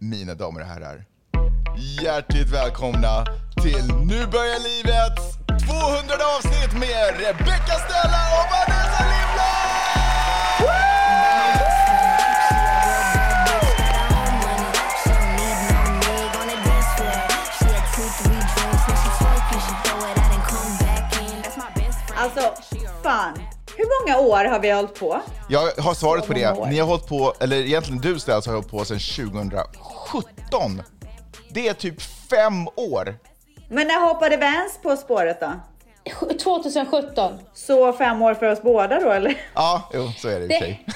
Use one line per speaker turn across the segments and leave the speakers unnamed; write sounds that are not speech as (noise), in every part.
mina damer och herrar. Hjärtligt välkomna till Nu börjar livet 200 avsnitt med Rebecca Stella och Vanessa
Alltså, fan. Hur många år har vi hållit på?
Jag har svaret på
Många
det.
år.
Ni har hållit på, eller egentligen du Stella, har hållit på sedan 2017. Det är typ fem år.
Men när hoppade Vans på spåret då?
2017.
Så fem år för oss båda då eller?
Ja, jo, så är det i och för sig.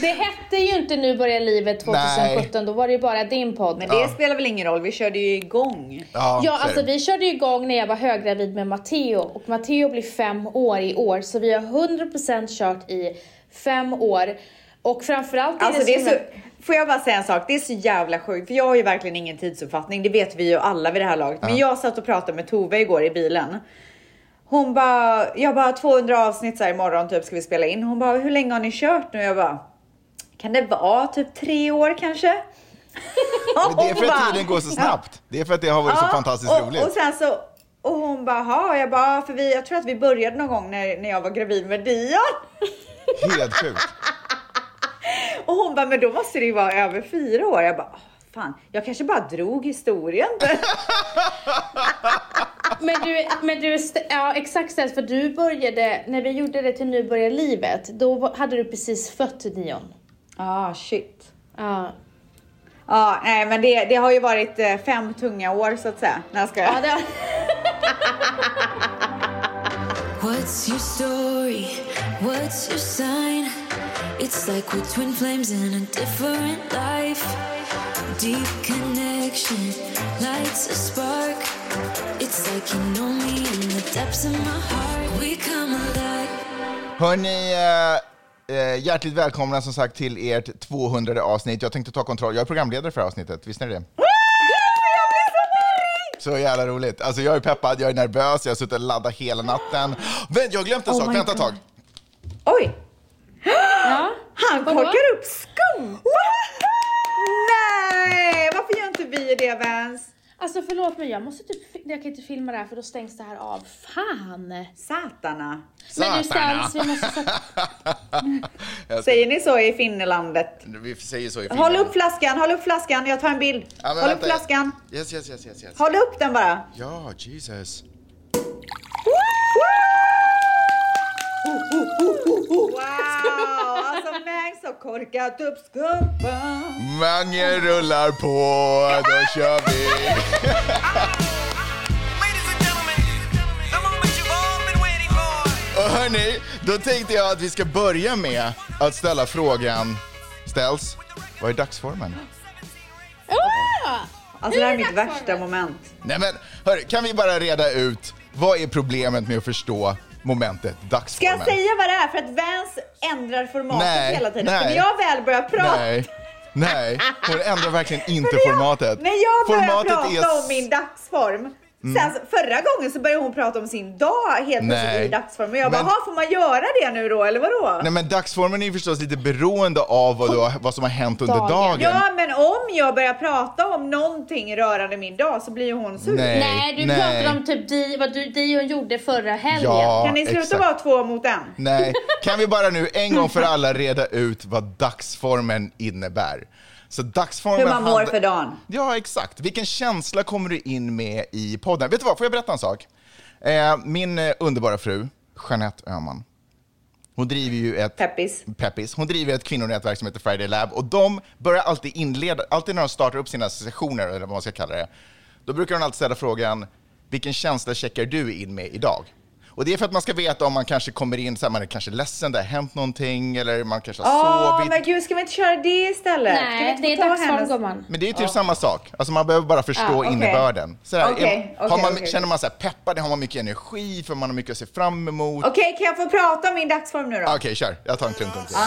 Det hette ju inte Nu börjar livet 2017, då var det ju bara din podd.
Men det spelar väl ingen roll, vi körde ju igång.
Ja, så är
Ja,
det.
alltså vi körde ju igång när jag var höggravid med Matteo och Matteo blir fem år i år så vi har 100% kört i fem år. Och framförallt är
Alltså det är
som
så, får jag bara säga en sak, det är så jävla sjukt för jag har ju verkligen ingen tidsuppfattning, det vet vi ju alla vid det här laget. Men jag satt och pratade med Tove igår i bilen. Hon bara, jag bara 200 avsnitt så här imorgon typ ska vi spela in. Hon bara, hur länge har ni kört nu? Jag bara, kan det vara typ tre år kanske?
(laughs) Men det är för
Hon
att
bara,
tiden går så snabbt. Det är för att det har varit så
Ja,
fantastiskt
och,
roligt.
Och sen så, och hon bara, "Ha." jag bara, "Ja, för vi, jag tror att vi började någon gång när, när jag var gravid med Dion. (laughs)
Helt sjukt.
Och hon bara, men då måste det ju vara över fyra år. Jag bara, "Ah, fan, jag kanske bara drog historien. (laughs)
Men du, men du st- ja exakt Stens, för du började, när vi gjorde det till Nu börjar livet, då var- hade du precis fött Dion.
ah, shit.
Ja,
Ja, nej, men det, det har ju varit eh, fem tunga år så att säga. När ska jag? (laughs)
ja det,
What's your story? What's your sign? It's like we're twin flames in a different life. Deep connection lights a spark. It's like you know me in the depths of my heart. We come alive.
Hörni, eh, eh, hjärtligt välkomna som sagt till ert 200 avsnitt. Jag tänkte ta kontroll. Jag är programledare för det här avsnittet, visste ni det? Så jävla roligt. Alltså jag är peppad, jag är nervös, jag har suttit och laddat hela natten. Vänt, jag har glömt en sak,
my
vänta ett
God.
tag.
Oj,
ja.
(gasps) han
Vadå?
korkar upp skum. (laughs) nej, varför gör inte vi det Vans?
Alltså förlåt men jag måste typ, fi- jag kan inte filma det här för då stängs det här av. Fan!
Satana.
Men du
Satana.
Stens, vi måste
(laughs)
sätta...
Säger ni så i Finnelandet?
Vi säger så i filmen.
Håll upp flaskan, håll upp flaskan, jag tar en bild.
Ja, men
håll upp
vänta.
flaskan.
Yes, yes, yes, yes, yes.
Håll upp den bara.
Ja, Jesus.
Wow, alltså Mangs har korkat upp skumpan.
Mange rullar på, då kör vi.
Ladies and gentlemen, the moment you've all been waiting for.
Och hörni, då tänkte jag att vi ska börja med att ställa frågan, ställs, vad är dagsformen?
Ah!
Alltså det här är
Nu är
mitt
det dags för
värsta
det.
moment.
Nej men, hörru, kan vi bara reda ut, vad är problemet med att förstå momentet
Ska
dagsformen?
jag säga vad det är? För att Vans ändrar formatet
Nej,
hela tiden.
nej.
För när jag väl börjar prata.
Nej, nej, hon ändrar verkligen inte
När jag-
formatet.
När jag börjar
Formatet
prata
är s- Mm.
om min dagsform. Sen, så- förra gången så började hon prata om sin dag helt plötsligt
Nej.
i dagsform. Och jag bara,
Men-
"Ha, får man göra det nu då eller vadå?
Nej men dagsformen är ju förstås lite beroende av vad, du, har- vad som har hänt under
Dagen.
dagen.
Ja, men om jag börjar prata om någonting rörande min dag så blir ju hon sur.
Nej,
Nej, du
nej.
pratar om typ di, vad du, Dion gjorde förra helgen.
Ja,
Kan ni sluta
exakt.
vara två mot en?
Nej, kan vi bara nu en gång för alla reda ut vad dagsformen innebär? Så dagsformen...
Hur man mår
hand-
för dagen.
Ja, exakt. Vilken känsla kommer du in med i podden? Vet du vad, får jag berätta en sak? Eh, min eh, underbara fru, Jeanette Öhman, hon driver ju ett...
Peppis.
Peppis. Hon driver ett kvinnonätverk som heter Friday Lab och de börjar alltid inleda, alltid när de startar upp sina sessioner eller vad man ska kalla det, då brukar de alltid ställa frågan vilken känsla checkar du in med idag? Och det är för att man ska veta om man kanske kommer in så här, man är kanske ledsen, det har hänt någonting eller man kanske har
Åh,
sovit.
Ah, men gud, ska vi inte köra det istället? Ska vi
Nej,
inte
det är
få ta
dagsform
hennes-
gumman.
Men det är ju typ samma sak. Alltså man behöver bara förstå
Ah, okej.
innebörden. Så här,
Okej,
har man,
okej, okej.
Känner man sig peppad, har man mycket energi för man har mycket att se fram emot. Okej,
Okej, kan jag få prata om min dagsform nu då?
kör. Jag tar en klunk till.
Ah.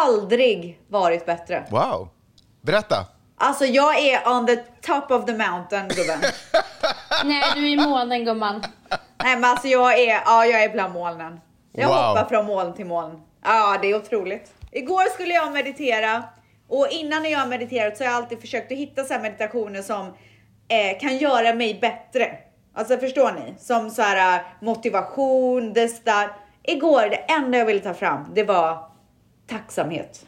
aldrig varit bättre.
Wow. Berätta.
Alltså jag är on the top of the mountain gubben.
Nej, du är i månen gumman.
Nej men alltså jag är, ja jag är bland molnen. Jag
Wow.
hoppar från moln till moln. Ja det är otroligt. Igår skulle jag meditera och innan när jag har mediterat så har jag alltid försökt att hitta så här meditationer som eh, kan göra mig bättre. Alltså förstår ni? Som så här eh, motivation, det där. Igår det enda jag ville ta fram det var tacksamhet.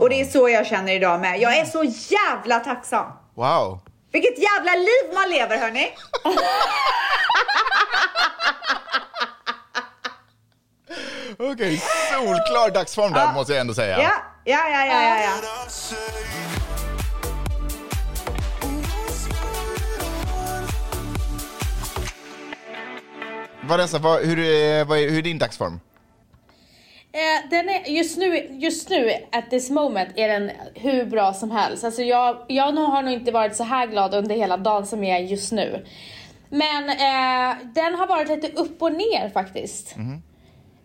Och det är så jag känner idag med. Jag är så jävla tacksam.
(laughs) Wow.
Vilket jävla liv man lever hörni!
Okej, solklar dagsform där måste jag ändå säga.
Ja, ja, ja, ja, ja. ja.
Vanessa, vad, hur, är, vad är, hur är din dagsform?
(laughs)
Eh, den är, just, nu, just nu, at this moment, är den hur bra som helst. Alltså jag, jag nog- har nog inte varit så här glad under hela dagen som jag är just nu. Men eh, den har varit lite upp och ner faktiskt.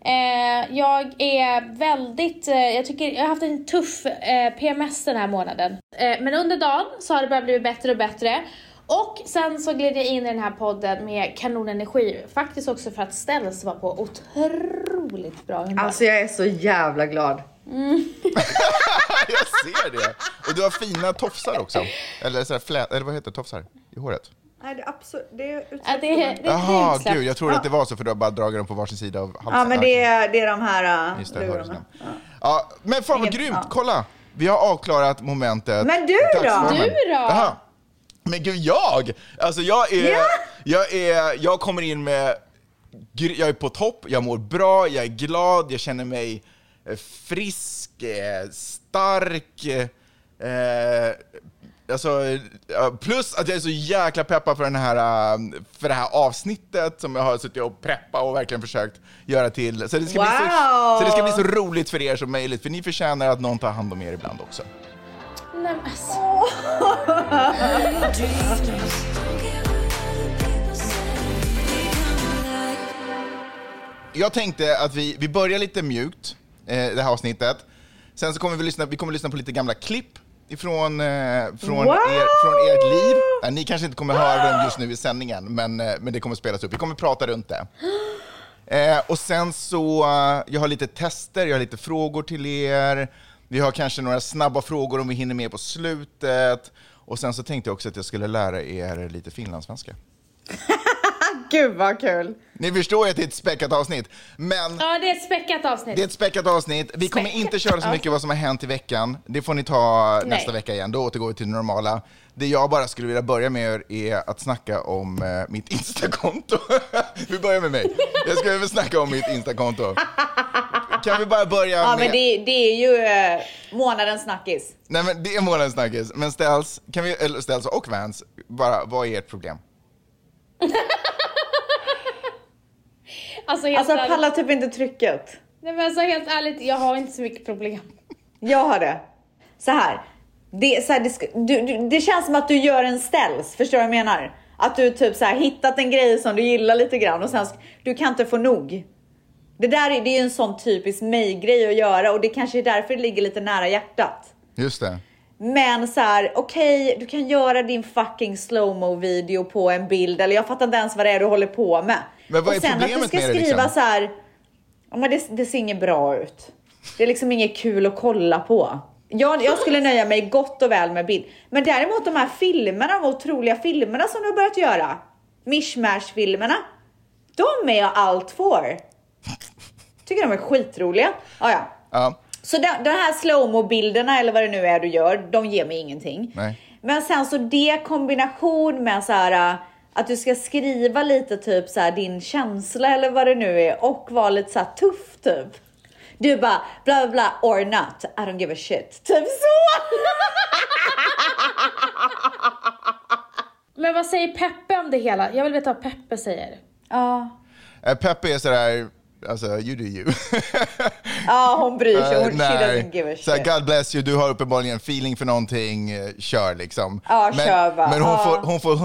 Eh, jag är väldigt, eh, jag tycker jag har haft en tuff eh, PMS den här månaden. Eh, men under dagen så har det börjat bli bättre och bättre. Och sen så gled jag in i den här podden med kanonenergi. Faktiskt också för att Ställs var på otroligt bra humör.
Alltså jag är så jävla glad.
Jag ser det. Och du har fina tofsar också. Eller, så här flä, eller vad heter det? Tofsar i håret?
Nej, det är absolut, det är
Ja, det, är- det är
Jaha,
ett
gud.
gud,
Jag trodde att det var så för du har bara dragit dem på varsin sida av halsen.
Ja men det är, det är de här
Just
uh,
det, hördes
lurarna.
det. Ja, men fan vad
Inget-
grymt!
ja.
Kolla! Vi har avklarat momentet.
Men du då?
Dagsformen.
Du då?
Jaha. Men gud, jag! Alltså jag är,
Ja.
jag är, jag kommer in med, gr- jag är på topp, jag mår bra, jag är glad, jag känner mig eh, frisk, eh, stark, eh, alltså, eh, plus att jag är så jäkla peppad för, den här, eh, för det här avsnittet som jag har suttit och preppat och verkligen försökt göra till. Så det ska, bli, så,
Wow.
så det ska bli så roligt för er som möjligt, för ni förtjänar att någon tar hand om er ibland också.
Nej, men alltså.
Jag tänkte att vi, vi börjar lite mjukt, eh, det här avsnittet. Sen så kommer vi lyssna, vi kommer lyssna på lite gamla klipp ifrån, eh, från,
Wow!
er, från ert liv. Ja, ni kanske inte kommer höra dem just nu i sändningen, men, eh, men det kommer spelas upp. Vi kommer prata runt det. (gasps) Eh, och sen så, eh, jag har lite tester, jag har lite frågor till er. Vi har kanske några snabba frågor om vi hinner med på slutet. Och sen så tänkte jag också att jag skulle lära er lite finlandssvenska.
Gud vad kul!
Ni förstår ju att det är ett späckat avsnitt, men
Ja, det är ett späckat avsnitt.
Det är ett späckat avsnitt. Vi kommer
Späckat
inte köra så mycket vad som har hänt i veckan. Det får ni ta nästa vecka igen. Då återgår vi till det normala. Det jag bara skulle vilja börja med är att snacka om eh, mitt Instakonto. (laughs) vi börjar med mig. Jag skulle vilja snacka om mitt Instakonto. Kan vi bara börja
Ja
med...
men det, det är ju eh, månadens snackis.
Nej men det är månadens snackis. Men Ställs, kan vi, eller Ställs och Vans, bara, vad är ert problem?
Alltså, helt
Alltså
ärligt.
pallar typ inte trycket.
Nej, men alltså, helt ärligt, jag har inte så mycket problem.
Jag har det. Så här. Det, så här det, sk- du, du, det känns som att du gör en ställs, förstår du vad jag menar? Att du typ så här hittat en grej som du gillar lite grann och sen sk- du kan inte få nog. Det där är, det är ju en sån typisk mig-grej att göra och det kanske är därför det ligger lite nära hjärtat.
Just det.
Men så här, okej, du kan göra din fucking slowmo video på en bild eller jag fattar inte ens vad det är du håller på med.
Men vad
och
är
sen att du
problemet
ska
med det,
skriva
liksom?
så här, ja, men det, det ser inget bra ut. Det är liksom inget kul att kolla på. Jag, jag skulle nöja mig gott och väl med bild. Men däremot de här filmerna, de otroliga filmerna som du har börjat göra, mishmash-filmerna, de är jag allt för. Tycker de är skitroliga. Ah, ja.
Ja.
Så de, de här slowmo-bilderna eller vad det nu är du gör, de ger mig ingenting.
Nej.
Men sen så det i kombination med så här äh, att du ska skriva lite typ så här din känsla eller vad det nu är och vara lite så här tuff typ. Du bara bla bla bla or not,
(laughs)
I don't give a shit. Typ så!
Men vad säger Peppe om det hela? Jag vill veta vad Peppe säger.
Ja.
Eh, Peppe är sådär, alltså you do you. (laughs)
Ja, hon bryr sig. Hon,
Eh,
she doesn't give a
Så här,
shit.
God bless you, du har uppenbarligen feeling för någonting, eh, kör liksom.
Ja,
men,
kör bara.
Men hon,
Ja.
får, hon får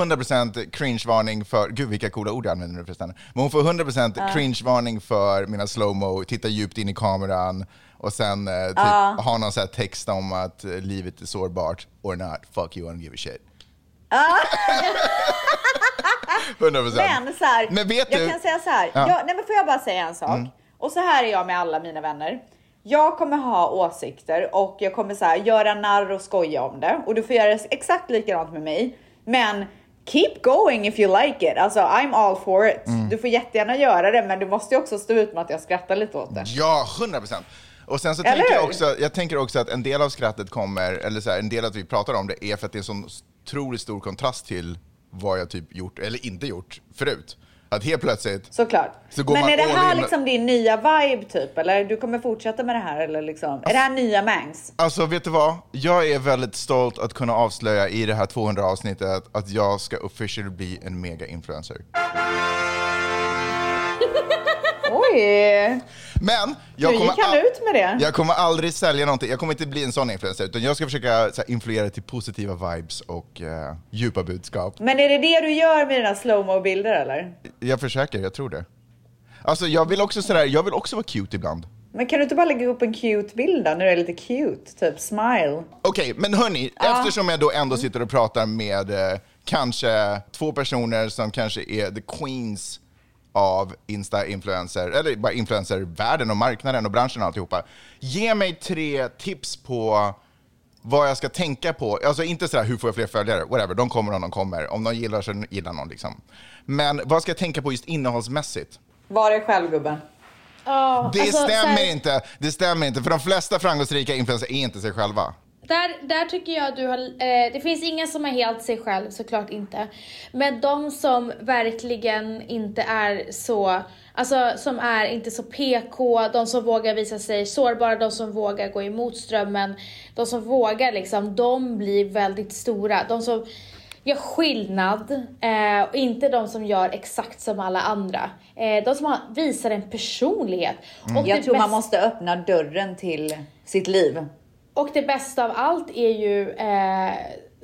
100% cringe-varning för, gud vilka coola ord jag använder nu förresten. Men hon får 100% cringe-varning för mina slowmo, titta djupt in i kameran och sen eh, typ, ha någon så här text om att eh, livet är sårbart, or not, fuck you, I don't give a shit. (laughs) 100%.
Men så här,
Men vet
jag
du-
kan säga så här.
Ja. Mm.
Jag, nej men får jag bara säga en sak? Och så här är jag med alla mina vänner. Jag kommer ha åsikter och jag kommer så här, göra narr och skoja om det. Och du får göra exakt likadant med mig. Men keep going if you like it. Alltså I'm all for it.
Mm.
Du får jättegärna göra det men du måste ju också stå ut med att jag skrattar lite åt det.
Ja, 100 procent. Och sen så
Eller
tänker jag,
hur?
också, jag tänker också att en del av skrattet kommer, eller så här, en del att vi pratar om det är för att det är en sån otroligt stor kontrast till vad jag typ gjort eller inte gjort förut. Att helt plötsligt,
Såklart.
Så går
men
man
är det
all
här
in.
liksom din nya vibe typ? Eller du kommer fortsätta med det här? Eller liksom? Är det här nya
(laughs)
Mangs?
alltså vet du vad? Jag är väldigt stolt att kunna avslöja i det här 200 avsnittet att jag ska officially bli en mega-influencer.
Oj!
Men
Nu
jag kommer,
gick han
al-
ut med det.
jag kommer aldrig sälja någonting, jag kommer inte bli en sån influencer utan jag ska försöka så här, influera till positiva vibes och eh, djupa budskap.
Men är det det du gör med dina slowmo bilder eller?
Jag försöker, jag tror det. Alltså jag vill också sådär, jag vill också vara cute ibland.
Men kan du inte bara lägga upp en cute bild då, när du är lite cute? Typ smile.
Okej, men hörni, eftersom jag då ändå sitter och pratar med eh, kanske två personer som kanske är the queens av Insta-influencer, eller bara influencer-världen och marknaden och branschen och alltihopa. Ge mig tre tips på vad jag ska tänka på. Alltså inte sådär, hur får jag fler följare? Whatever, de kommer om de kommer. Om någon gillar så gillar någon liksom. Men vad ska jag tänka på just innehållsmässigt?
Var dig själv gubben.
Ja,
Det
alltså, så här-
stämmer inte, det stämmer inte. För de flesta framgångsrika influencers är inte sig själva.
Där, där tycker jag du har... Eh, det finns ingen som är helt sig själv, såklart inte. Men de som verkligen inte är så... Alltså som är inte så PK, de som vågar visa sig sårbara, de som vågar gå emot strömmen, de som vågar liksom, de blir väldigt stora. De som gör skillnad eh, och inte de som gör exakt som alla andra. Eh, de som har, visar en personlighet. Och
Mm. Jag
det
tror man
bästa-
måste öppna dörren till sitt liv.
och det bästa av allt är ju eh,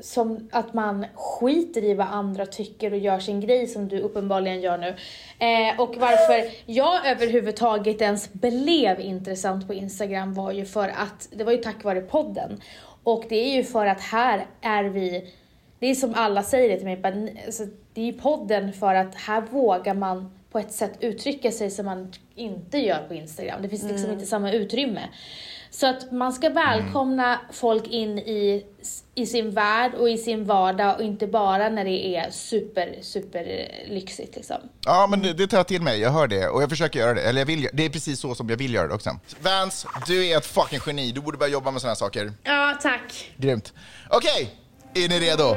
som att man skiter i vad andra tycker och gör sin grej som du uppenbarligen gör nu. Eh, och varför jag överhuvudtaget ens blev intressant på Instagram var ju för att, det var ju tack vare podden. Och det är ju för att här är vi, det är som alla säger det till mig, bara, ni- alltså, det är ju podden för att här vågar man på ett sätt uttrycka sig som man inte gör på Instagram. Det finns liksom inte samma utrymme. Så att man ska välkomna folk in i, i sin värld och i sin vardag och inte bara när det är super, super lyxigt liksom.
Ja, men det, det tar jag till mig. Jag hör det och jag försöker göra det. Eller jag vill, gö- det är precis så som jag vill göra det också. Vance, du är ett fucking geni. Du borde börja jobba med sådana här saker.
Ja, tack.
Grymt. Okej, är ni redo?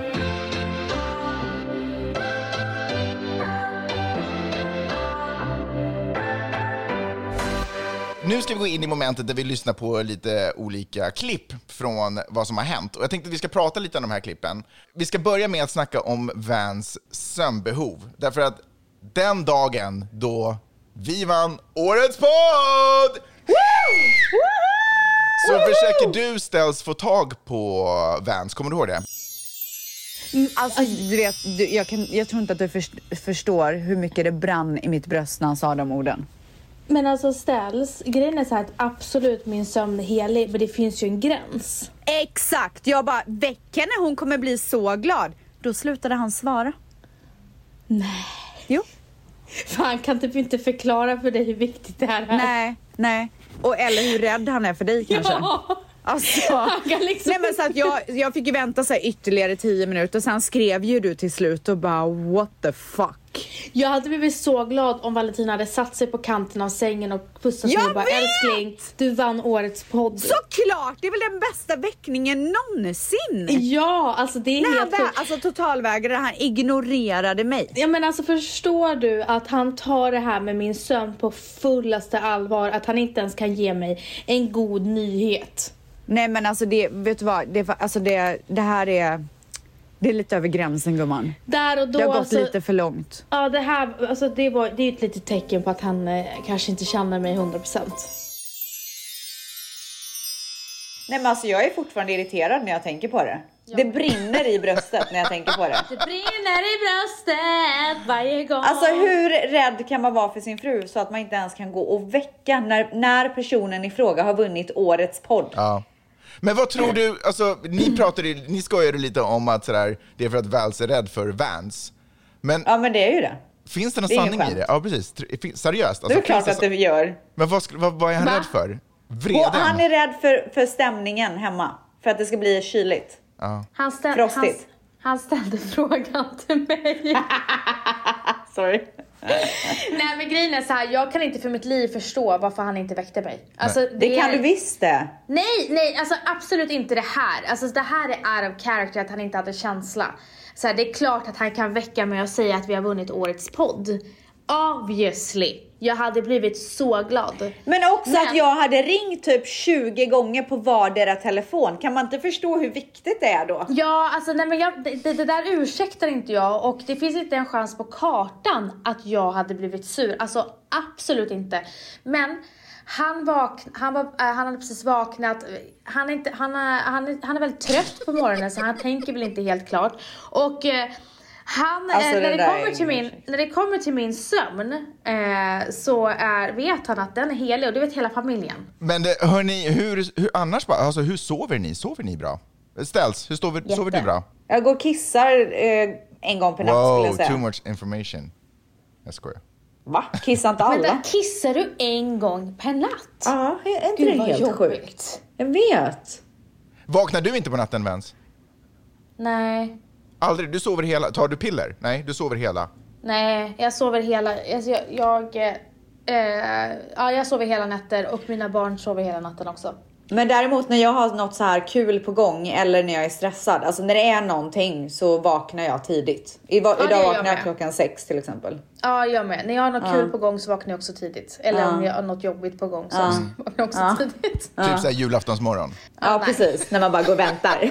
Nu ska vi gå in i momentet där vi lyssnar på lite olika klipp från vad som har hänt. Och jag tänkte att vi ska prata lite om de här klippen. Vi ska börja med att snacka om Vans sömnbehov. Därför att den dagen då vi vann Årets podd! Så försöker du ställs få tag på Vans, kommer du ihåg det?
Alltså, du vet, du, jag, kan, jag tror inte att du först- förstår hur mycket det brann i mitt bröst när han sa de orden.
Men alltså ställs, grejen är så här att absolut min sömn är helig men det finns ju en gräns. (laughs)
Exakt! Jag bara, väck henne, hon kommer bli så glad. Då slutade han svara.
Nej.
Jo.
Fan kan typ inte förklara för dig hur viktigt det här är.
Nej, nej. Och eller hur rädd han är för dig kanske.
Ja.
Alltså,
(laughs) Han kan liksom
nej men så att jag, jag fick ju vänta så här ytterligare tio minuter och sen skrev ju du till slut och bara what the fuck.
Jag hade blivit så glad om Valentina hade satt sig på kanten av sängen och pussat mig
Jag
och bara
vet!
älskling, du vann årets podd.
Såklart! Det är väl den bästa väckningen någonsin!
Ja, alltså det är
När han
helt
vä-
sjukt.
alltså totalvägrade, han ignorerade mig.
Ja men alltså förstår du att han tar det här med min sömn på fullaste allvar, att han inte ens kan ge mig en god nyhet.
Nej men alltså det, vet du vad, det, var- alltså det, det här är
Det är lite över gränsen gumman.
Där och då.
Det har gått
alltså,
lite för långt.
Ja, det här, alltså det, var, det är ju ett litet tecken på att han eh, kanske inte känner mig 100%.
Nej men alltså jag är fortfarande irriterad när jag tänker på det. Det brinner i bröstet när jag tänker
(laughs)
på det.
Det brinner i bröstet varje gång.
Alltså hur rädd kan man vara för sin fru så att man inte ens kan gå och väcka när, när personen i fråga har vunnit årets podd?
Ja. Men vad tror du, alltså, ni, pratade, ju- ni skojade lite om att sådär, det är för att Vals är rädd för Vans. Men
Ja men det är ju det.
finns det någon
det är ingen
sanning i
skämt.
det? Ja, precis. Tr- fin- Seriöst.
Det
Alltså,
är klart
finns
att
det...
det gör.
så- Men vad, skulle- vad, vad är han
Va?
rädd för?
Och
Vreden?
han är rädd för, för stämningen hemma. För att det ska bli kyligt.
han, ställ, han,
Frostigt.
han ställde (laughs) frågan till mig.
Sorry.
Nej men grejen är så här, jag kan inte för mitt liv förstå varför han inte väckte mig. Alltså,
Det kan
är-
du visst det.
Nej, nej, alltså absolut inte det här. Alltså det här är out of character, att han inte hade känsla. Så här, det är klart att han kan väcka mig och säga att vi har vunnit årets podd. Obviously. Jag hade blivit så glad.
Men också
Men-
att jag hade ringt typ 20 gånger på vardera telefon. Kan man inte förstå hur viktigt det är då?
Ja, alltså nej, men jag, det, det- det där ursäktar inte jag och det finns inte en chans på kartan att jag hade blivit sur. Alltså absolut inte. Men han, vak, han, var, eh, han hade precis vaknat, han är, inte, han, är, han, är, han är väldigt trött på morgonen så han tänker väl inte helt klart. Och eh, han, eh,
Alltså, det
när, det
där är
kommer till
ingen
min,
ursäkt.
när det kommer till min sömn eh, så är, vet han att den är helig och det vet hela familjen.
Men det, hörni, hur, hur annars bara, alltså, hur sover ni? Sover ni bra? Ställs, hur sover, sover du
Jätte.
bra?
Jag går och kissar eh, en gång per natt skulle
Wow,
jag säga.
too much information. Jag skojar.
Va? Kissar inte
Men
alla?
där kissar du en gång per natt.
Ja, är inte det helt sjukt? Jag vet.
Vaknar du inte på natten, Vens?
Nej.
Aldrig? Du sover hela? Tar du piller? Nej, du sover hela?
Nej, jag sover hela... Alltså jag, jag, eh, ja, jag sover hela nätter och mina barn sover hela natten också.
Men däremot när jag har något så här kul på gång eller när jag är stressad, alltså när det är någonting så vaknar jag tidigt. I, va-
det
idag
gör jag
vaknar jag
med.
klockan sex till exempel.
Ja, jag med. När jag har något kul på gång så vaknar jag också tidigt. Eller om jag har något jobbigt på gång så (laughs) vaknar jag också tidigt.
Typ såhär julaftonsmorgon?
Ja,
nej.
precis. När man bara går och väntar.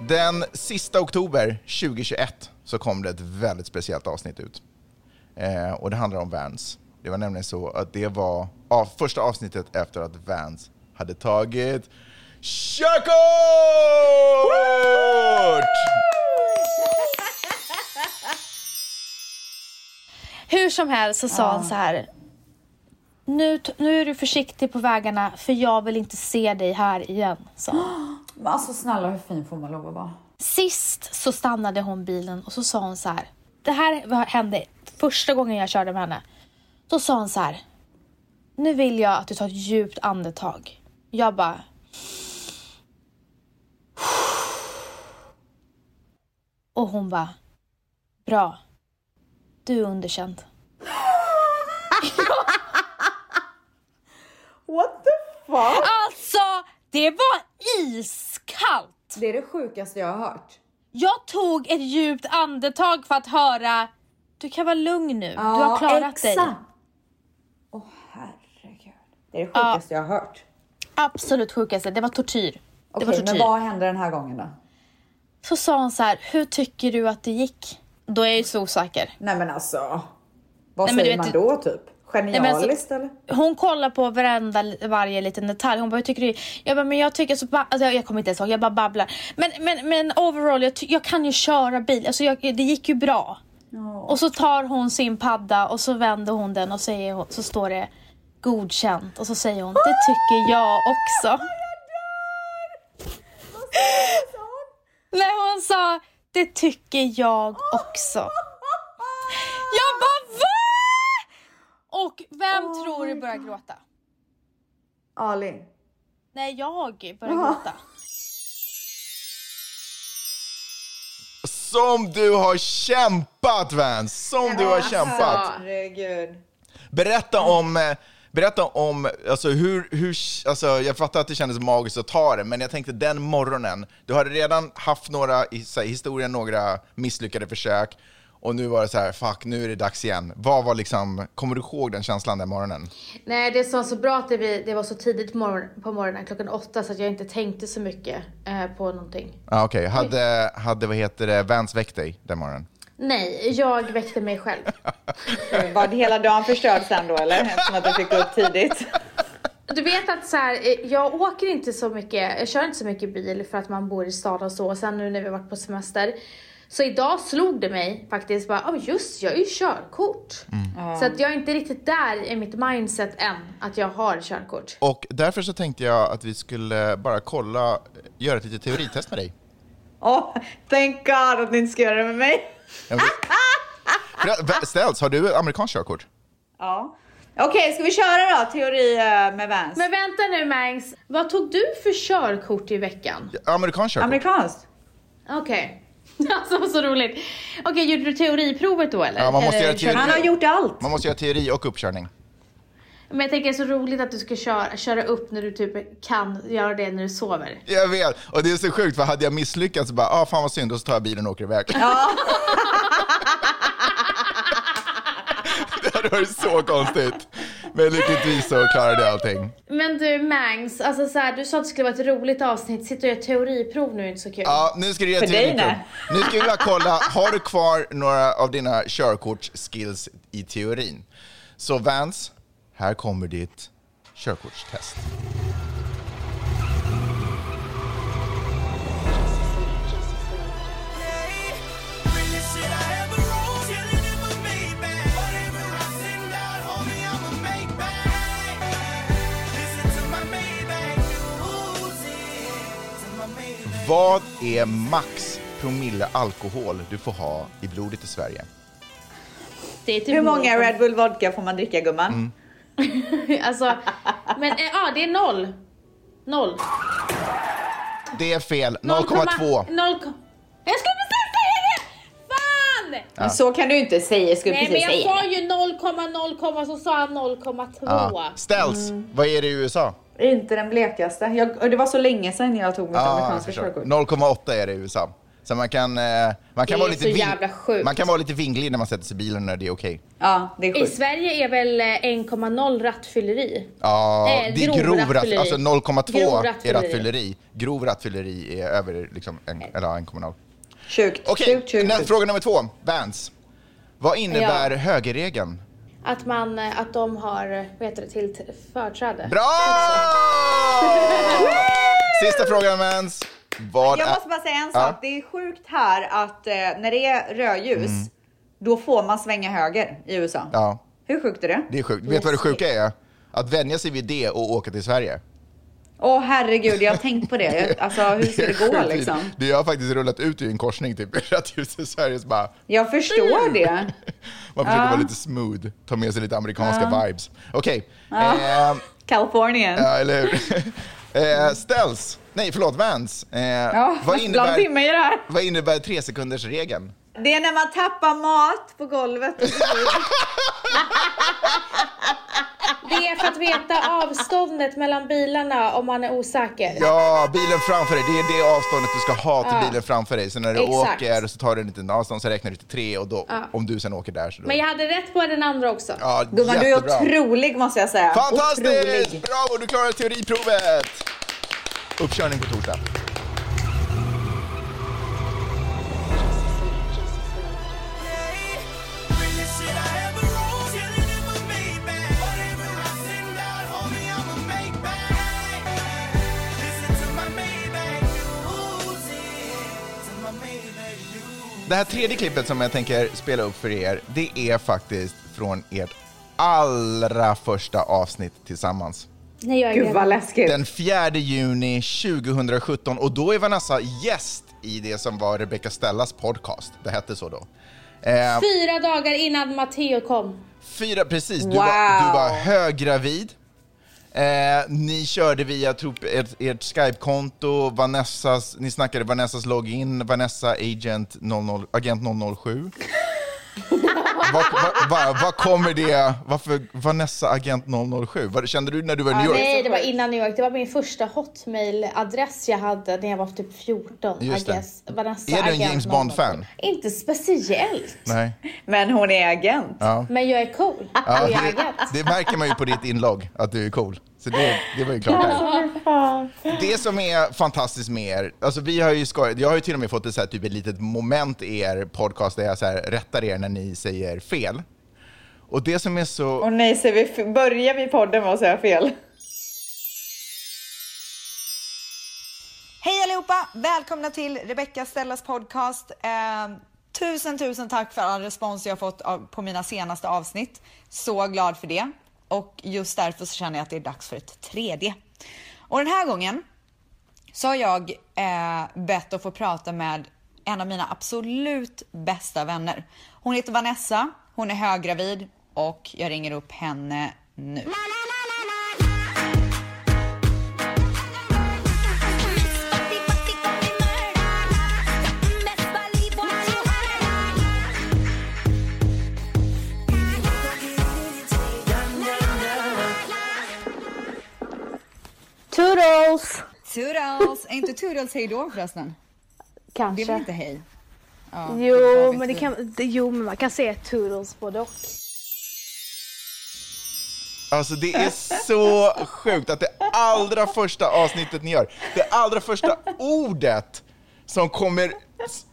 Den sista oktober 2021 så kom det ett väldigt speciellt avsnitt ut. Eh, och det handlar om Vans. Det var nämligen så att det var av, första avsnittet efter att Vans hade tagit körkort!
Hur som helst så sa han så här. Nu, t- nu är du försiktig på vägarna för jag vill inte se dig här igen, sa han.
Men (laughs) alltså snälla hur fin får man lov att vara?
Sist så stannade hon bilen och så sa hon så här. Det här var- hände första gången jag körde med henne. Då sa hon så här. Nu vill jag att du tar ett djupt andetag. Jag bara. Och hon bara. Bra. Du är underkänd.
What the fuck?
Alltså, det var iskallt!
Det är det sjukaste jag har hört.
Jag tog ett djupt andetag för att höra. Du kan vara lugn nu. du har klarat dig.
Åh herregud.
Det är det sjukaste jag har hört.
absolut sjukaste, det var tortyr.
Okej,
det var tortyr.
men vad hände den här gången då?
Så sa hon så här, hur tycker du att det gick? Då är jag ju så osäker.
Nej men alltså. Vad
Nej, men
säger
du
man
vet-
då typ? Genialiskt
men alltså-
eller?
Hon kollar på varenda, varje liten detalj. Hon bara, hur tycker du? Jag bara, men jag tycker så... ba- Alltså, jag, jag kommer inte ens ihåg, jag bara babblar. Men, men, men overall, jag, ty- jag kan ju köra bil. Alltså, jag, det gick ju bra. Och så tar hon sin padda och så vänder hon den och säger, hon- så står det godkänt. Och så säger hon, det tycker jag också. Nej, hon sa, det tycker jag också. Jag bara, va? Och vem tror du börjar gråta?
Ali.
Nej, jag börjar gråta.
Som du har kämpat Vans! Som du
Alltså.
har kämpat!
Herregud.
Berätta om, eh, berätta om alltså, hur, hur, alltså, jag fattar att det kändes magiskt att ta det, men jag tänkte den morgonen, du hade redan haft några i så här, historien, några misslyckade försök, Och nu var det så här, fuck, nu är det dags igen. Vad var liksom, kommer du ihåg den känslan den morgonen?
Nej, det som var så bra att det, vi, det var så tidigt på morgon- på morgonen, klockan åtta, så att jag inte tänkte så mycket eh, på någonting.
Ja, ah, okej. Hade, hade, vad heter det, Vans väckt dig den morgonen?
Nej, jag väckte mig själv.
Var det hela dagen förstörd sen då eller? Eftersom att du fick gå upp tidigt.
(laughs) Du vet att så här, eh, jag åker inte så mycket, jag kör inte så mycket bil för att man bor i stad och så. Och sen nu när vi har varit på semester. Så idag slog det mig faktiskt bara, oh just jag har ju körkort. Så att jag är inte riktigt där i mitt mindset än, att jag har körkort.
Och därför så tänkte jag att vi skulle bara kolla, göra ett litet teoritest med dig.
Åh, thank God att ni inte ska göra det med mig.
Ja, men- För- vä- Ställs, har du ett amerikanskt körkort?
Ja. Okej, ska vi köra då? Teori eh, med Vans.
Men vänta nu Mangs, vad tog du för körkort i veckan?
Amerikanskt körkort?
Amerikanskt?
Okej. (laughs) Alltså så roligt. Okej, gjorde du teoriprovet då eller?
Ja, man måste
eller,
göra teori.
Han har gjort allt.
Man måste göra teori och uppkörning.
Men jag tänker det är så roligt att du ska köra, köra upp när du typ kan göra det när du sover.
Jag vet, och det är så sjukt för hade jag misslyckats så bara, ah fan vad synd, och så tar jag bilen och åker iväg. (laughs) det hade varit så konstigt. Men lyckligtvis så klarade jag allting.
Men du Mangs, alltså så här, du sa att det skulle vara ett roligt avsnitt. Sitter och gör teoriprov nu är inte så kul.
Ja, nu ska du göra
För dig,
teoriprov. Nu ska vi bara kolla, har du kvar några av dina körkortsskills i teorin? Så Vance, här kommer ditt körkortstest. Vad är max promille alkohol du får ha i blodet i Sverige?
Det är typ
Hur många
noll.
Red Bull vodka får man dricka gumman?
Mm,
(laughs) Alltså, men eh, ja, det är noll. Noll.
Det är fel,
Noll komma-
0,2.
Noll ko- Jag skulle precis säga det! Fan!
Men så kan du inte säga. Jag skulle
Nej men
precis
jag
säga
sa ju 0,0, så sa han 0,2.
Ja. Ställs,
Mm.
vad är det i USA?
det. Inte den blekaste. Jag, och det var så länge sedan jag tog mitt
Ja,
amerikanska
Ah, jag förstår.
körkort.
0,8 är det i USA. Så man kan, eh, man kan
är
vara lite
så
ving-
jävla sjukt.
Man kan vara lite vinglig när man sätter sig i bilen när det är okej.
Ja, det är
I
sjukt.
Sverige är väl eh, 1,0 rattfylleri?
Ja,
Eh,
det är
grov
grov ratt-
rattfylleri.
Alltså 0,2
Grov
är
rattfylleri. Eh.
rattfylleri. Grov rattfylleri är över liksom en, eller ja, en kommunal.
Sjukt.
Okej,
sjukt, sjukt,
nä-
sjukt.
fråga nummer två. Vans. Vad innebär högerregeln?
Att, man, eh, att de har eh, vad heter det, till förträde.
Bra! Sista frågan Vans. Vad
Jag
är-
måste bara säga en
Ja.
sak. Det är sjukt här att eh, när det är rödljus, då får man svänga höger i USA.
Mm. Ja,
Hur sjukt är det?
det är sjukt. Vet du vad det sjuka är? Att vänja sig vid det och åka till Sverige.
Åh herregud, jag har tänkt på det.
(laughs)
Jag- Alltså hur ska det gå
sjukt.
liksom?
Typ. Det jag har faktiskt rullat ut i en korsning typ, (laughs) i rattljus i Sverige. Så bara,
Jag förstår det.
man försöker vara lite smooth, ta med sig lite amerikanska vibes. Okej, ehm,
Californien.
ja, eller hur? (laughs) eh, ställs, nej förlåt, Vans. Eh,
Ja,
vad,
blanda in mig i
innebär,
det här.
vad innebär tre sekunders regeln?
Det är när man tappar mat på
(laughs)
golvet. och så-
Det är för att veta avståndet mellan bilarna om man är osäker.
Ja, bilen framför dig, det är det avståndet du ska ha till bilen framför dig. Så när du
Exakt.
åker så tar du en liten avstånd, så räknar du till tre och då, om du sen åker där så då...
Men jag hade rätt på den andra också.
ja,
Gumman, du är
jättebra.
otrolig måste jag säga.
Fantastiskt!
Otrolig.
Bravo, du klarade teoriprovet! Uppkörning på torsdag. Det här tredje klippet som jag tänker spela upp för er, det är faktiskt från ert allra första avsnitt tillsammans.
Nej, jag är
Gud vad
redan.
läskigt.
Den 4 juni 2017 och då är Vanessa gäst i det som var Rebecca Stellas podcast. Det hette så då. Eh,
Fyra dagar innan Matteo kom.
fyra, precis. Du,
Wow.
var, du var höggravid. Eh, ni körde via tror, ert, ert Skype-konto, Vanessas, ni
(laughs)
snackade Vanessas login, Vanessa agent 00, agent 007. Vad vad- vad- vad kommer det... Varför Vanessa Agent 007? Vad kände du när du var i New York?
Nej, det var innan New York. Det var min första hotmail-adress jag hade när jag var typ 14.
Just
I
det.
guess. Vanessa
Är du en
Agent
James Bond-fan?
00. Inte speciellt.
Nej.
Men hon är agent.
Men jag är cool.
Ja,
och jag är
det,
agent.
det märker man ju på ditt inlogg, att du är cool. Så det, det var ju klart. Det som är fantastiskt med er, alltså vi har ju skojat, jag har ju till och med fått ett, så här, typ ett litet moment i er podcast där jag så här, rättar er när ni säger fel. Och det som är så...
Och nej, så vi börjar vi podden med att säga fel.
Hej allihopa! Välkomna till Rebecca Stellas podcast. Eh, tusen, tusen tack för all respons jag har fått av, på mina senaste avsnitt. Så glad för det. Och just därför så känner jag att det är dags för ett tredje. Och den här gången så har jag eh, bett att få prata med en av mina absolut bästa vänner. Hon heter Vanessa, hon är höggravid och jag ringer upp henne nu.
Toodles!
Toodles! Är inte toodles hej då förresten? Det är väl
Kanske.
inte hej? Ja, vad
Jo
vet
men, det
vi?
kan, det, jo, men man kan säga toodles både och.
Alltså det är så sjukt att det allra första avsnittet ni gör, det allra första ordet som kommer,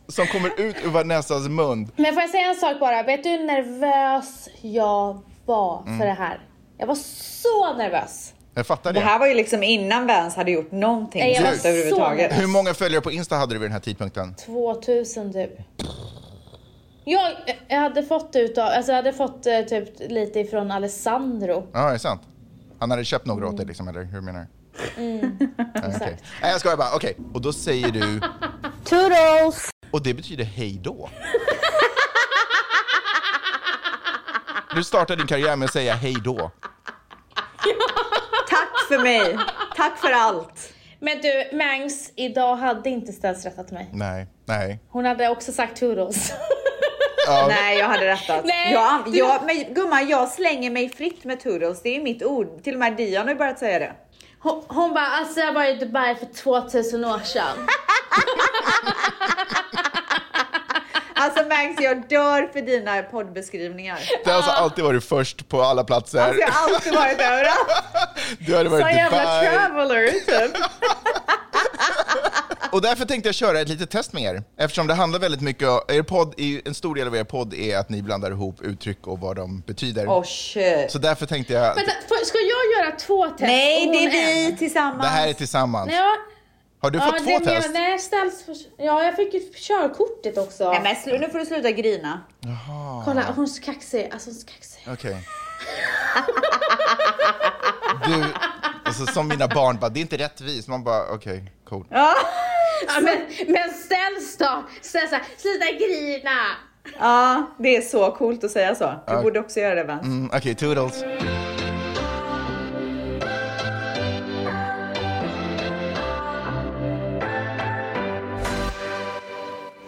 som kommer ut ur Vanessas mun,
Men får jag säga en sak bara? Vet du hur nervös jag var för det här? Jag var så nervös.
jag fattar
Det
det.
här var ju liksom innan vi ens hade gjort någonting
Nej, jag
Nej,
var så
överhuvudtaget.
Hur många följare på Insta hade du vid den här tidpunkten?
2000 typ. Jag, jag hade fått utav, alltså jag hade fått eh, typ lite ifrån Alessandro.
Ja, är det sant? Han hade köpt några åt dig liksom, eller hur menar du?
Mm.
Nej, okej. Nej, jag skojar bara. Okej, och då säger du,
Toodles!
och det betyder hej då. Du startade din karriär med att säga hej då.
Tack för mig. Tack för allt.
Men du, Mangs, idag hade inte Stens rättat mig.
Nej, nej.
Hon hade också sagt toodles. (laughs)
Nej, jag hade rättat.
Nej,
jag,
du-
jag, men gumman, jag slänger mig fritt med toodles. Det är mitt ord. Till och med Dion har ju börjat säga det.
Hon, hon bara, alltså jag var i Dubai för 2000 år sedan.
Alltså Mangs, jag dör för dina poddbeskrivningar.
Det har alltså alltid varit först på alla platser.
Alltså jag har alltid varit överallt.
Du hade
Så
varit i
jävla
Dubai.
traveler
(laughs)
typ.
Och därför tänkte jag köra ett litet test med er. Eftersom det handlar väldigt mycket om, er podd, är ju- en stor del av er podd är att ni blandar ihop uttryck och vad de betyder.
Oh shit.
Så därför tänkte jag,
Vänta, får- ska jag göra två test?
Nej,
och
det
hon
är
en?
vi tillsammans.
det här är tillsammans.
Ja,
Har du
ja,
fått
det
två
men jag-
test?
Nej, ställs för, ja, jag fick ju körkortet också.
Nej, men slu- nu får du sluta grina.
Kolla, hon är så kaxig. Alltså hon är så kaxig.
Okej. Du, alltså som mina barn bara, det är inte rättvist. Man bara, okej, cool.
Ja, men, men ställs då! Ställs så här, sluta grina!
Ja, det är så coolt att säga så. Du borde också göra det Vans.
Mm, okej, toodles.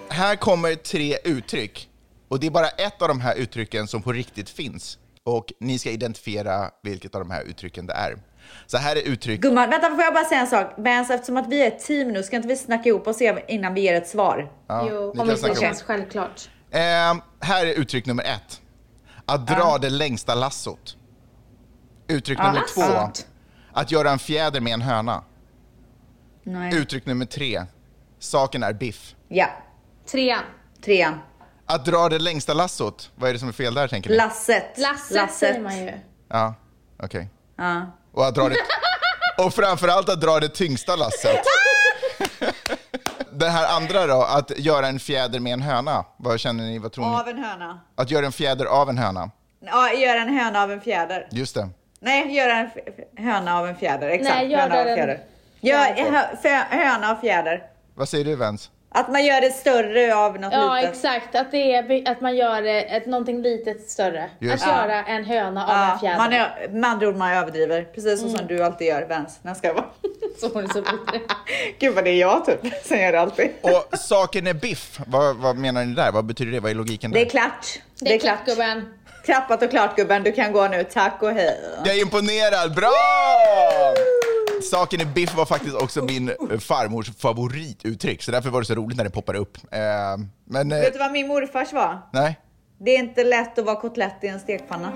Här kommer tre uttryck. Och det är bara ett av de här uttrycken som på riktigt finns. Och ni ska identifiera vilket av de här uttrycken det är. Så här är uttryck
Gumman, vänta får jag bara säga en sak? Vans, eftersom att vi är ett team nu, ska inte vi snacka ihop oss innan vi ger ett svar?
jo,
ni
om
kan
inte det
snacka om
känns självklart.
Ehm, här är uttryck nummer ett. Att dra det längsta lassot. Uttryck nummer två.
lassot.
Att göra en fjäder med en höna.
Nej.
Uttryck nummer tre. Saken är biff.
Ja,
Trean.
trean.
Att dra det längsta lassot. Vad är det som är fel där tänker ni?
Lasset.
Lasset, säger man ju. Mm.
ja, okej. Och att dra
(laughs)
det... Och framförallt att dra det tyngsta lasset. det här andra då, att göra en fjäder med en höna. Vad känner ni, vad tror ni?
Av en höna.
Att göra en fjäder av en höna.
Ja, gör en höna av en fjäder.
Just det.
Nej, gör en f- f- höna av en fjäder. Exakt,
Nej, gör
höna av
den-
fjäder. Gör hö- fö- höna av fjäder.
Vad säger du Vens?
Att man gör det större av något
Ja,
litet.
exakt. Att, det är, be- att man gör eh, ett, någonting litet större.
Just
att
det.
göra en höna av en
Ja,
fjäder. Mm.
man är, med andra ord, man överdriver. Precis så som du alltid gör, Vens. När jag ska vara.
(laughs) Så hon är så vidrig.
(laughs) Gud vad det är jag typ (laughs) som gör det alltid.
Och saken är biff. Vad, vad menar ni där? Vad betyder det? Vad är logiken
Det är
där?
klart.
Det är klart gubben.
Klappat och klart gubben. Du kan gå nu. Tack och hej.
Jag är imponerad. Bra! Saken är biff var faktiskt också min eh, farmors favorituttryck, så därför var det så roligt när det poppade upp. Eh, men eh,
Vet du vad min morfars var?
nej.
Det är inte lätt att vara kotlett i en stekpanna.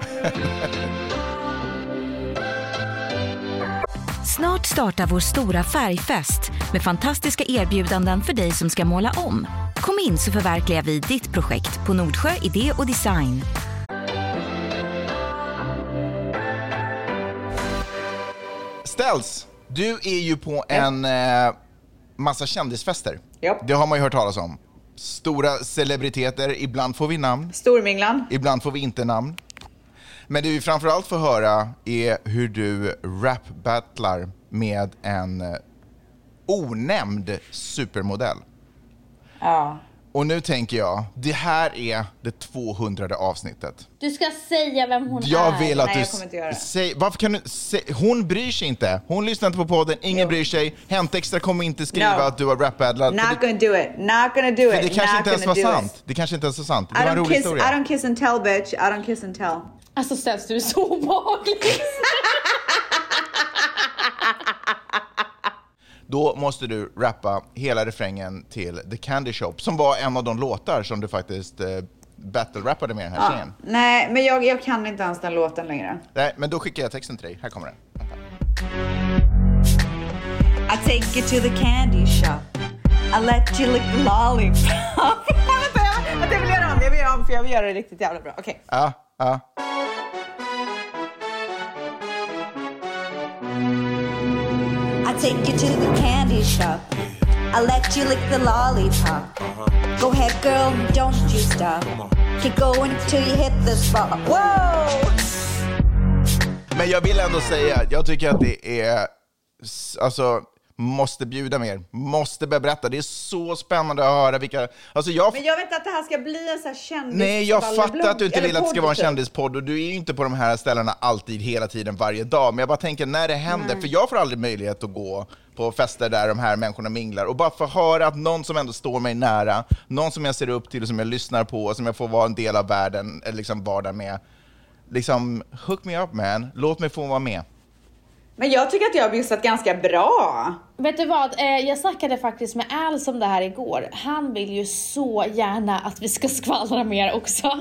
Snart startar vår stora färgfest med fantastiska erbjudanden för dig som ska måla om. Kom in så förverkligar vi ditt projekt på Nordsjö Idé och Design.
Ställs, du är ju på en eh, massa kändisfester.
Japp.
Det har man ju hört talas om. Stora celebriteter, ibland får vi namn,
Storminglan.
ibland får vi inte namn. Men det vi framförallt får höra är hur du rap-battlar med en eh, onämnd supermodell.
Ja.
Och nu tänker jag, det här är det 200 avsnittet.
Du ska säga vem hon
Jag
är.
vill att
nej,
du...
jag kommer inte göra det.
Säg, varför kan du... Säg, hon bryr sig inte. Hon lyssnar inte på podden, ingen bryr sig. Hämtextra kommer inte skriva
No.
att du har rap-battlat. för
Not
det,
gonna do it. Not gonna do it.
för det kanske
Not
inte ens var
gonna do it.
sant. Det kanske inte ens var sant. Det
I
var en
don't,
rolig
kiss, I
historia.
don't kiss and tell bitch. I don't kiss and tell.
Alltså Stens, du är så obehaglig.
Då måste du rappa hela refrängen till The Candy Shop, som var en av de låtar som du faktiskt eh, battle-rappade med den här tjejen.
Nej, men jag, jag kan inte ens den låten längre.
Nej, men då skickar jag texten till dig. Här kommer den.
I take you to the candy shop. I let you lick the lollipop. Vänta, (laughs) jag, vänta, jag vill göra om. Jag vill göra om för jag vill göra det riktigt jävla bra. Okej.
Ja, ja.
I take you to the candy shop. I let you lick the lollipop. Go ahead, girl, don't you stop. Keep going till you hit the spot. Whoa!
Men jag vill ändå säga, jag tycker att det är, s- alltså, måste bjuda mer, måste berätta. Det är så spännande att höra vilka, alltså jag,
Men jag vet att det här ska bli en sån här kändis...
nej jag
skvallerblogg,
fattar att du inte
eller
vill att det ska
podd,
vara en
typ.
kändispodd och du är ju inte på de här ställena alltid, hela tiden, varje dag. Men jag bara tänker när det händer, för jag får aldrig möjlighet att gå på fester där de här människorna minglar och bara få höra att någon som ändå står mig nära, någon som jag ser upp till och som jag lyssnar på och som jag får vara en del av världen, eller liksom vardagen med. Liksom, hook me up man, låt mig få vara med.
typ. Men jag tycker att jag har bjussat ganska bra.
Vet du vad, eh, jag snackade faktiskt med Al om det här igår. Han vill ju så gärna att vi ska skvallra mer också.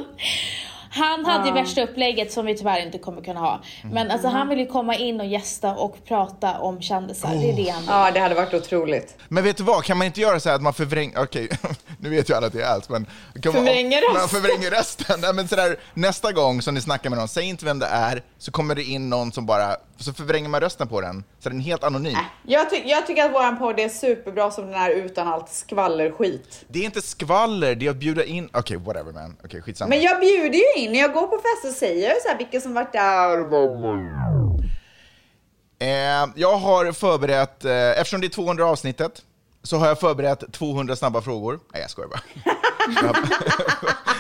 Han hade ju värsta upplägget som vi tyvärr inte kommer kunna ha. Men alltså han vill ju komma in och gästa och prata om kändisar. Det är det han vill.
Ja, det hade varit otroligt.
Men vet du vad, kan man inte göra så här att man förvränger, okej, (laughs) nu vet ju alla att det är allt, men kan
Förvränger
man, man
rösten.
förvränger rösten. Nej, men så där, nästa gång som ni snackar med någon, säg inte vem det är, så kommer det in någon som bara, så förvränger man rösten på den, så den är helt anonym.
Jag, ty- jag tycker att våran podd är superbra som den är utan allt skvallerskit.
Det är inte skvaller, det är att bjuda in, okej whatever man, okej skitsamma.
Men jag bjuder ju in, när jag går på fester säger jag ju så här vilka som varit där.
Eh, jag har förberett, eh, eftersom det är 200 avsnittet, så har jag förberett 200 snabba frågor. Nej, jag
(laughs)
skojar bara. jag, har,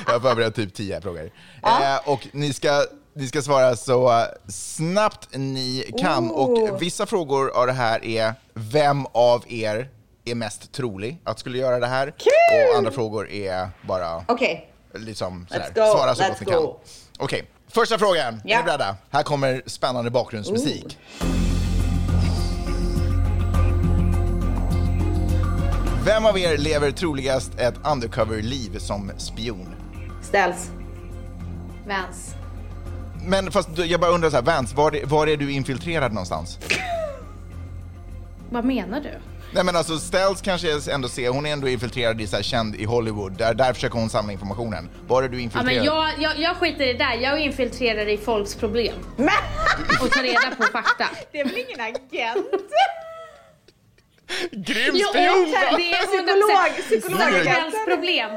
jag har (laughs) förberett typ 10 frågor. Eh, och ni ska, ni ska svara så eh, snabbt ni kan. Och vissa frågor av det här är, vem av er är mest trolig att skulle göra det här?
Kul!
Och andra frågor är bara
Okej,
liksom sådär,
Let's go,
svara så
let's
gott ni
go.
kan. Okej, första frågan.
Ja.
Är ni beredda? Här kommer spännande bakgrundsmusik. Vem av er lever troligast ett undercover-liv som spion?
ställs. (laughs)
Oh. Vans.
Men fast du- jag bara undrar så här, Vance, var, är- var är du infiltrerad någonstans?
Vad menar du?
Nej men alltså Ställs kanske jag ändå ser, hon är ändå infiltrerad i så här, känd i Hollywood, där, där försöker hon samla informationen. Var är du
Ja,
infiltrerad?
men jag, jag, jag skiter i det där. Jag infiltrerar i folks problem. Och tar reda på fakta.
Det är väl ingen agent?
Grym
Jo,
spion! va?
det är 100%
Psykolog, psykolog.
Samhällsproblem.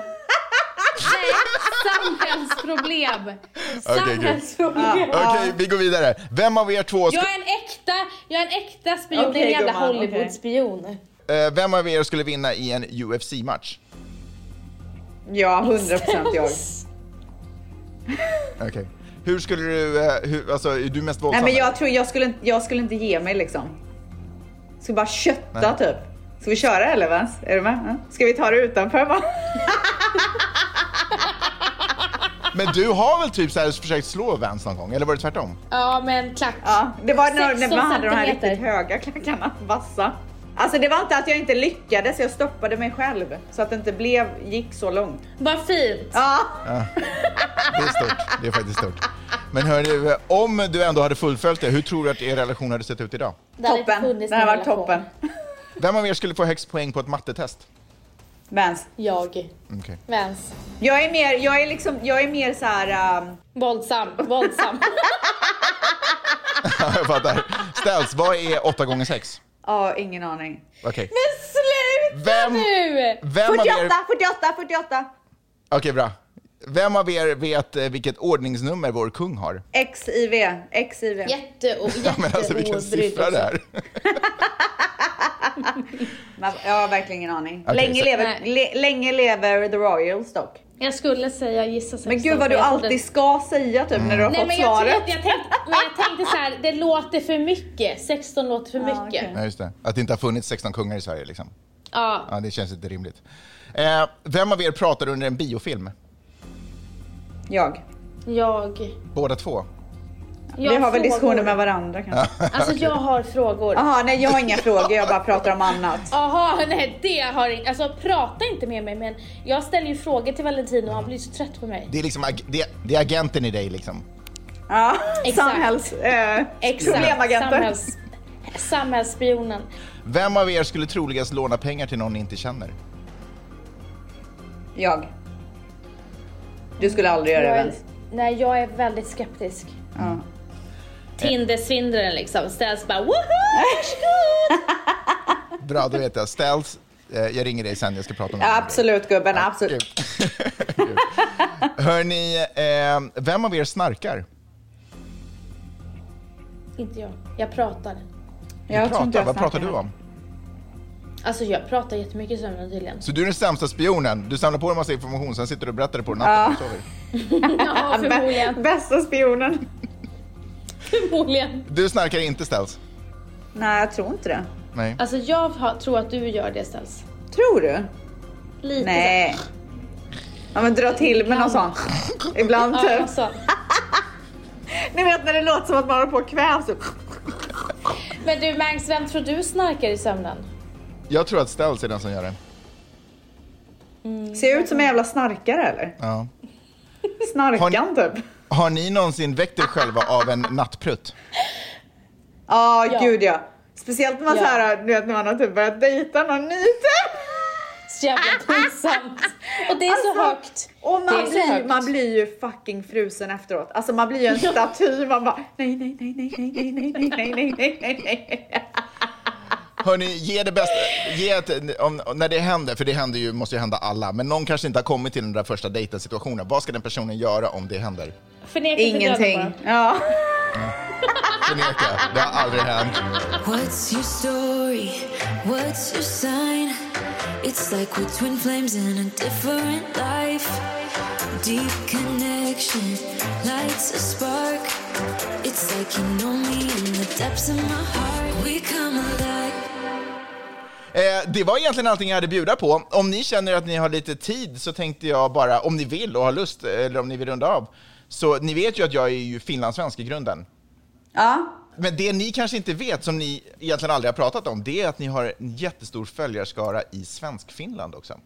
Nej, samhällsproblem.
Okej, gud.
Samhällsproblem.
Okej, vi går vidare. Vem av er två... ska-
Jag är en äkta, jag är en äkta spion.
Okej,
det är en jävla
gumman, okej.
Hollywood-spion.
Eh, Vem av er skulle vinna i en UFC-match?
Ja, 100% jag.
Okej. Hur skulle du, eh, hur, alltså är du mest
Nej
våldsam?
men jag tror jag skulle, inte- jag skulle inte ge mig liksom. Skulle bara kötta
Nej.
typ. Ska vi köra eller Vans? Är du med? Ja. Ska vi ta det utanför va?
Men du har väl typ så här försökt slå Vans någon gång, eller var det tvärtom?
Ja, men klack.
Ja, det var när, när
16
man hade de här
centimeter.
riktigt höga klackarna, vassa. Alltså det var inte att jag inte lyckades, jag stoppade mig själv så att det inte blev, gick så långt.
Vad fint.
Ja,
Det är stort, det är faktiskt stort. Men hörru, eh, om du ändå hade fullföljt det, hur tror du att er relation hade sett ut idag?
Det hade inte
toppen.
funnits
Det här
någon
var
relation.
toppen.
Vem av er skulle få högst poäng på ett mattetest?
Vans.
Jag.
Okej.
Vens.
Jag är mer, jag är liksom, jag är mer så här. ehm,
Våldsam.
(laughs)
Våldsam.
Ja, (laughs) jag fattar. Ställs, vad är 8 gånger 6?
ja ingen aning.
Okej.
Sluta
Vem,
nu!
vem av
48,
er...
48, 48.
Okej, bra. Vem av er vet eh, vilket ordningsnummer vår kung har?
XIV, XIV.
Jätte och
Ja, (laughs) men alltså vilken siffra det är.
Man- Jag har verkligen ingen aning.
Okej,
länge,
så-
lever, le, länge lever the royals dock.
Jag skulle säga gissa 16.
Men gud vad du
för jag
alltid
trodde-
ska säga typ när du har
Nej
fått
men jag,
svaret.
trodde, jag tänkte, men jag tänkte så här, det låter för mycket. 16 låter för
Ja,
mycket.
okej.
Ja, just det. Att det inte har funnits 16 kungar i Sverige liksom.
Ja.
Ja, det känns inte rimligt. Eh, vem av er pratar under en biofilm?
Jag.
Jag.
Båda två?
Vi har
frågor.
väl diskussioner med varandra kanske.
(laughs)
Alltså jag har frågor.
Jaha, nej jag har inga frågor, jag bara pratar om annat.
Jaha, nej det har inte... Alltså prata inte med mig men jag ställer ju frågor till Valentino och han blir så trött på mig.
Det är liksom ag- det, det är agenten i dig liksom.
Ja,
Exakt.
samhälls... Eh, problemagenter.
Samhälls, samhällsspionen.
Vem av er skulle troligast låna pengar till någon ni inte känner?
Jag. Du skulle aldrig göra
Jag
det (laughs)
är,
Vens.
nej jag är väldigt skeptisk.
Ja.
Tindersvindlaren liksom ställs bara woho!
Bra, då vet jag. Ställs, eh, jag ringer dig sen, jag ska prata om det.
Absolut gubben,
Kul. (laughs)
absolut.
Kul. Hörni, eh, vem av er snarkar?
Inte jag. Jag pratar.
Jag tror inte
pratar,
jag
vad pratar
snackar.
du om?
Alltså jag pratar jättemycket i sömnen
(laughs)
tydligen.
Så du är den sämsta spionen. Du samlar på dig en massa information, sen sitter du och berättar det på natten när du sover.
Ja,
Bä- (laughs)
förmodligen.
Bästa spionen.
förmodligen.
Du snarkar inte Ställs?
Nej, jag tror inte det.
Nej.
Alltså jag har, tror att du gör det ställs.
Tror du?
Lite
Nej. Ja men dra till med någon sån. Ibland
så. Ja,
typ.
alltså.
Ni vet när det låter som att man håller på och kvävs. typ.
Men du Mangs, vem tror du snarkar i sömnen?
Jag tror att Ställs är den som gör det.
Ser jag ut som en jävla snarkare eller?
Ja.
Snarkan typ.
Har ni någonsin väckt er själva av en nattprutt?
ja,
Ja.
gud ja. Speciellt när man
Ja.
såhär, du vet när man har typ börjat dejta någon ny typ.
Så jävla (laughs) pinsamt. Och det är så
Alltså,
högt.
Och
det är
man
så
blir,
högt.
man blir ju fucking frusen efteråt. Alltså man blir ju en staty. Man bara nej, nej, nej, nej, nej, nej, nej, nej, nej, nej, nej, nej, nej.
Hörni, ge det bästa. Ge ett, om, om- när det händer, för det händer ju, måste ju hända alla, men någon kanske inte har kommit till den där första dejten-situationen. Vad ska den personen göra om det händer?
Förneka för döden bara.
Ingenting. Ja.
Förneka, det har aldrig hänt.
What's your story? What's your sign? It's like we're twin flames in a different life. Deep connection lights a spark. It's like you know me in the depths of my heart. We come alive.
Eh, det var egentligen allting jag hade att bjuda på. Om ni känner att ni har lite tid så tänkte jag bara, om ni vill och har lust, eller om ni vill runda av. Så ni vet ju att jag är ju finlandssvensk i grunden.
Ja.
Men det ni kanske inte vet, som ni egentligen aldrig har pratat om, det är att ni har en jättestor följarskara i Svenskfinland också.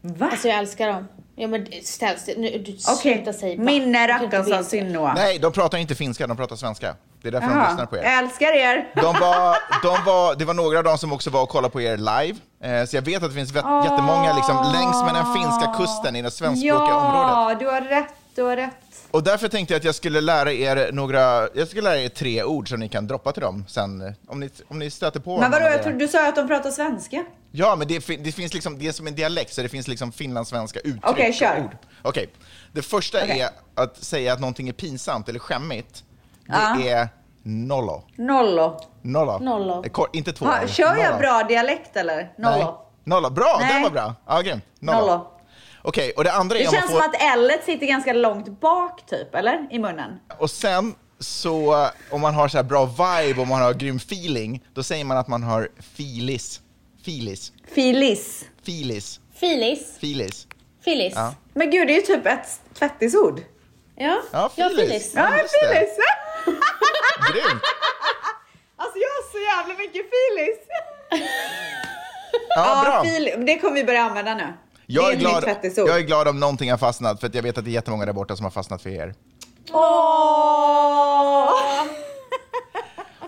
Va?
Alltså jag älskar dem. Ja men ställs det. Nu, du
Okej,
sluta säga va.
Minne
Du kan inte
Rackarnsson
veta.
Sinnoa.
Nej, de pratar inte finska, de pratar svenska. Det är därför de lyssnar
Jaha,
på
jag
er.
älskar er.
De var, de var, det var några av dem som också var och kollade på er live. Eh, så jag vet att det finns vä- jättemånga liksom, längs med den finska kusten i det svenskspråkiga området.
Ja, du har rätt, du har rätt.
Och därför tänkte jag att jag skulle lära er några, jag skulle lära er tre ord som ni kan droppa till dem sen, eh, om ni, om ni stöter på
Men
någon
vadå,
av
jag
era-
trodde, du sa ju att de pratar svenska.
Ja, men det, fin- det finns liksom, det är som en dialekt, så det finns liksom finlandssvenska uttryck
Okej,
och
kör.
ord. Okej, det första
Okej.
är att säga att någonting är pinsamt eller skämmigt. Det
Ja.
är Nollo.
Nollo.
Nollo.
Nollo.
Eh, Kort, inte två.
Ha,
noll.
kör jag
Nollo.
bra dialekt eller? Nollo.
Nej. Nollo. Bra,
Nej.
den var bra. Ja, grymt. Nollo.
Nollo.
Okej, och det andra
Det
är om man
känns
får...
som att L sitter ganska långt bak typ, eller? I munnen.
Och sen så, eh, om man har så här bra vibe, om man har grym feeling, då säger man att man har filis. Filis.
Filis.
Filis.
Filis.
Filis.
Filis.
Ja.
Ja,
Men gud, det är ju typ ett tvättisord.
ja.
Ja, Filis.
filis.
Ja,
Ja,
just det.
filis! (laughs)
Grymt!
alltså jag har så jävla mycket filis.
Ja, bra.
fil, det kommer vi börja använda nu. det
Jag
är,
är,
ett
glad,
nytt tvättisord.
jag är glad om någonting har fastnat, för att jag vet att det är jättemånga där borta som har fastnat för er.
Åh!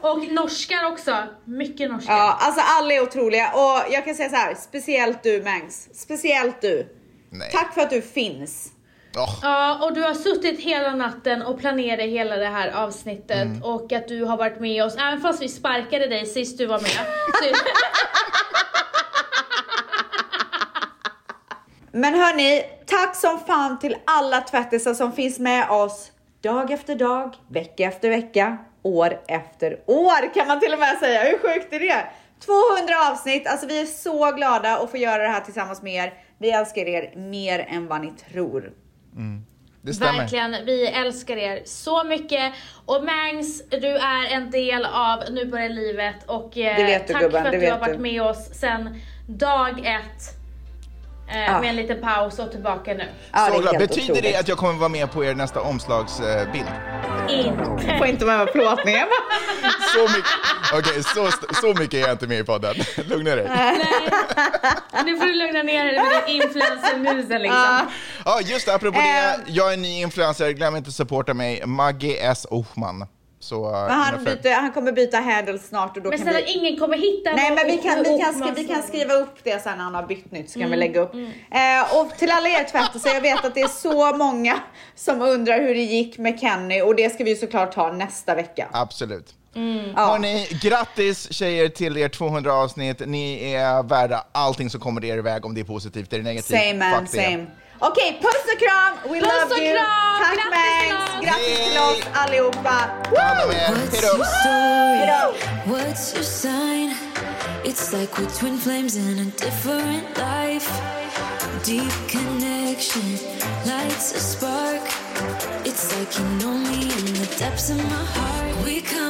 Och norskar också. Mycket norskar.
Ja, alltså alla är otroliga och jag kan säga så här, speciellt du Mangs. Speciellt du.
Nej.
Tack för att du finns.
Åh,
Ja, och du har suttit hela natten och planerat hela det här avsnittet
Mm.
och att du har varit med oss. Även fast vi sparkade dig sist du
(laughs)
var med. Så,
Men hörni, tack som fan till alla tvättisar som finns med oss dag efter dag, vecka efter vecka, år efter år kan man till och med säga. Hur sjukt är det? 200 avsnitt, alltså vi är så glada att få göra det här tillsammans med er. Vi älskar er mer än vad ni tror.
det stämmer.
verkligen, vi älskar er så mycket. Och Mangs, du är en del av Nu börjar livet och eh,
Det vet du,
tack
gubben,
för att
det
du
vet
har varit
du.
med oss sedan dag ett. Eh,
Ja.
Med en liten paus och tillbaka nu.
Ja,
Så
är
glad.
helt
Betyder det
otroligt.
att jag kommer vara med på er nästa
(laughs)
omslagsbild?
Inte.
Får inte vara med på plåtningen va?
Så mycket, Okej, så, st- så mycket är jag inte med i podden. (laughs) Lugna dig.
Nu får du lugna ner dig med din influencermusen
Ah.
liksom.
Ja, just det, apropå
Ehm.
det. Jag är ny influencer. Glöm inte att supporta mig. Maggie S. Ohman. Så, eh,
Men
mina
han,
föl-
byter, han kommer byta handle snart och då
Men
kan
snälla
vi...
ingen kommer hitta
Nej
någon
men vi
och-
kan, vi,
och-
kan skriva, vi kan skriva upp det sen när han har bytt nytt så kan
Mm,
vi lägga upp. Eh, och till alla er tvättisar, jag vet att det är så många som undrar hur det gick med Kenny och det ska vi ju såklart ta nästa vecka.
Absolut.
Mm. Ja.
Hörni, grattis tjejer till er 200 avsnitt. Ni är värda allting som kommer er väg, om det är positivt eller negativt.
Same man,
typ. Fuck det.
same. Okej, puss och kram! We
Puss
love
och
you!
kram!
Tack
Grattis till
Mangs!
oss!
Grattis till oss allihopa!
Ta hand om er.
What's
Hej då.
your story?
Hello.
What's your sign? It's like we're twin flames in a different life. Deep connection lights a spark. It's like you know me in the depths of my heart. We come.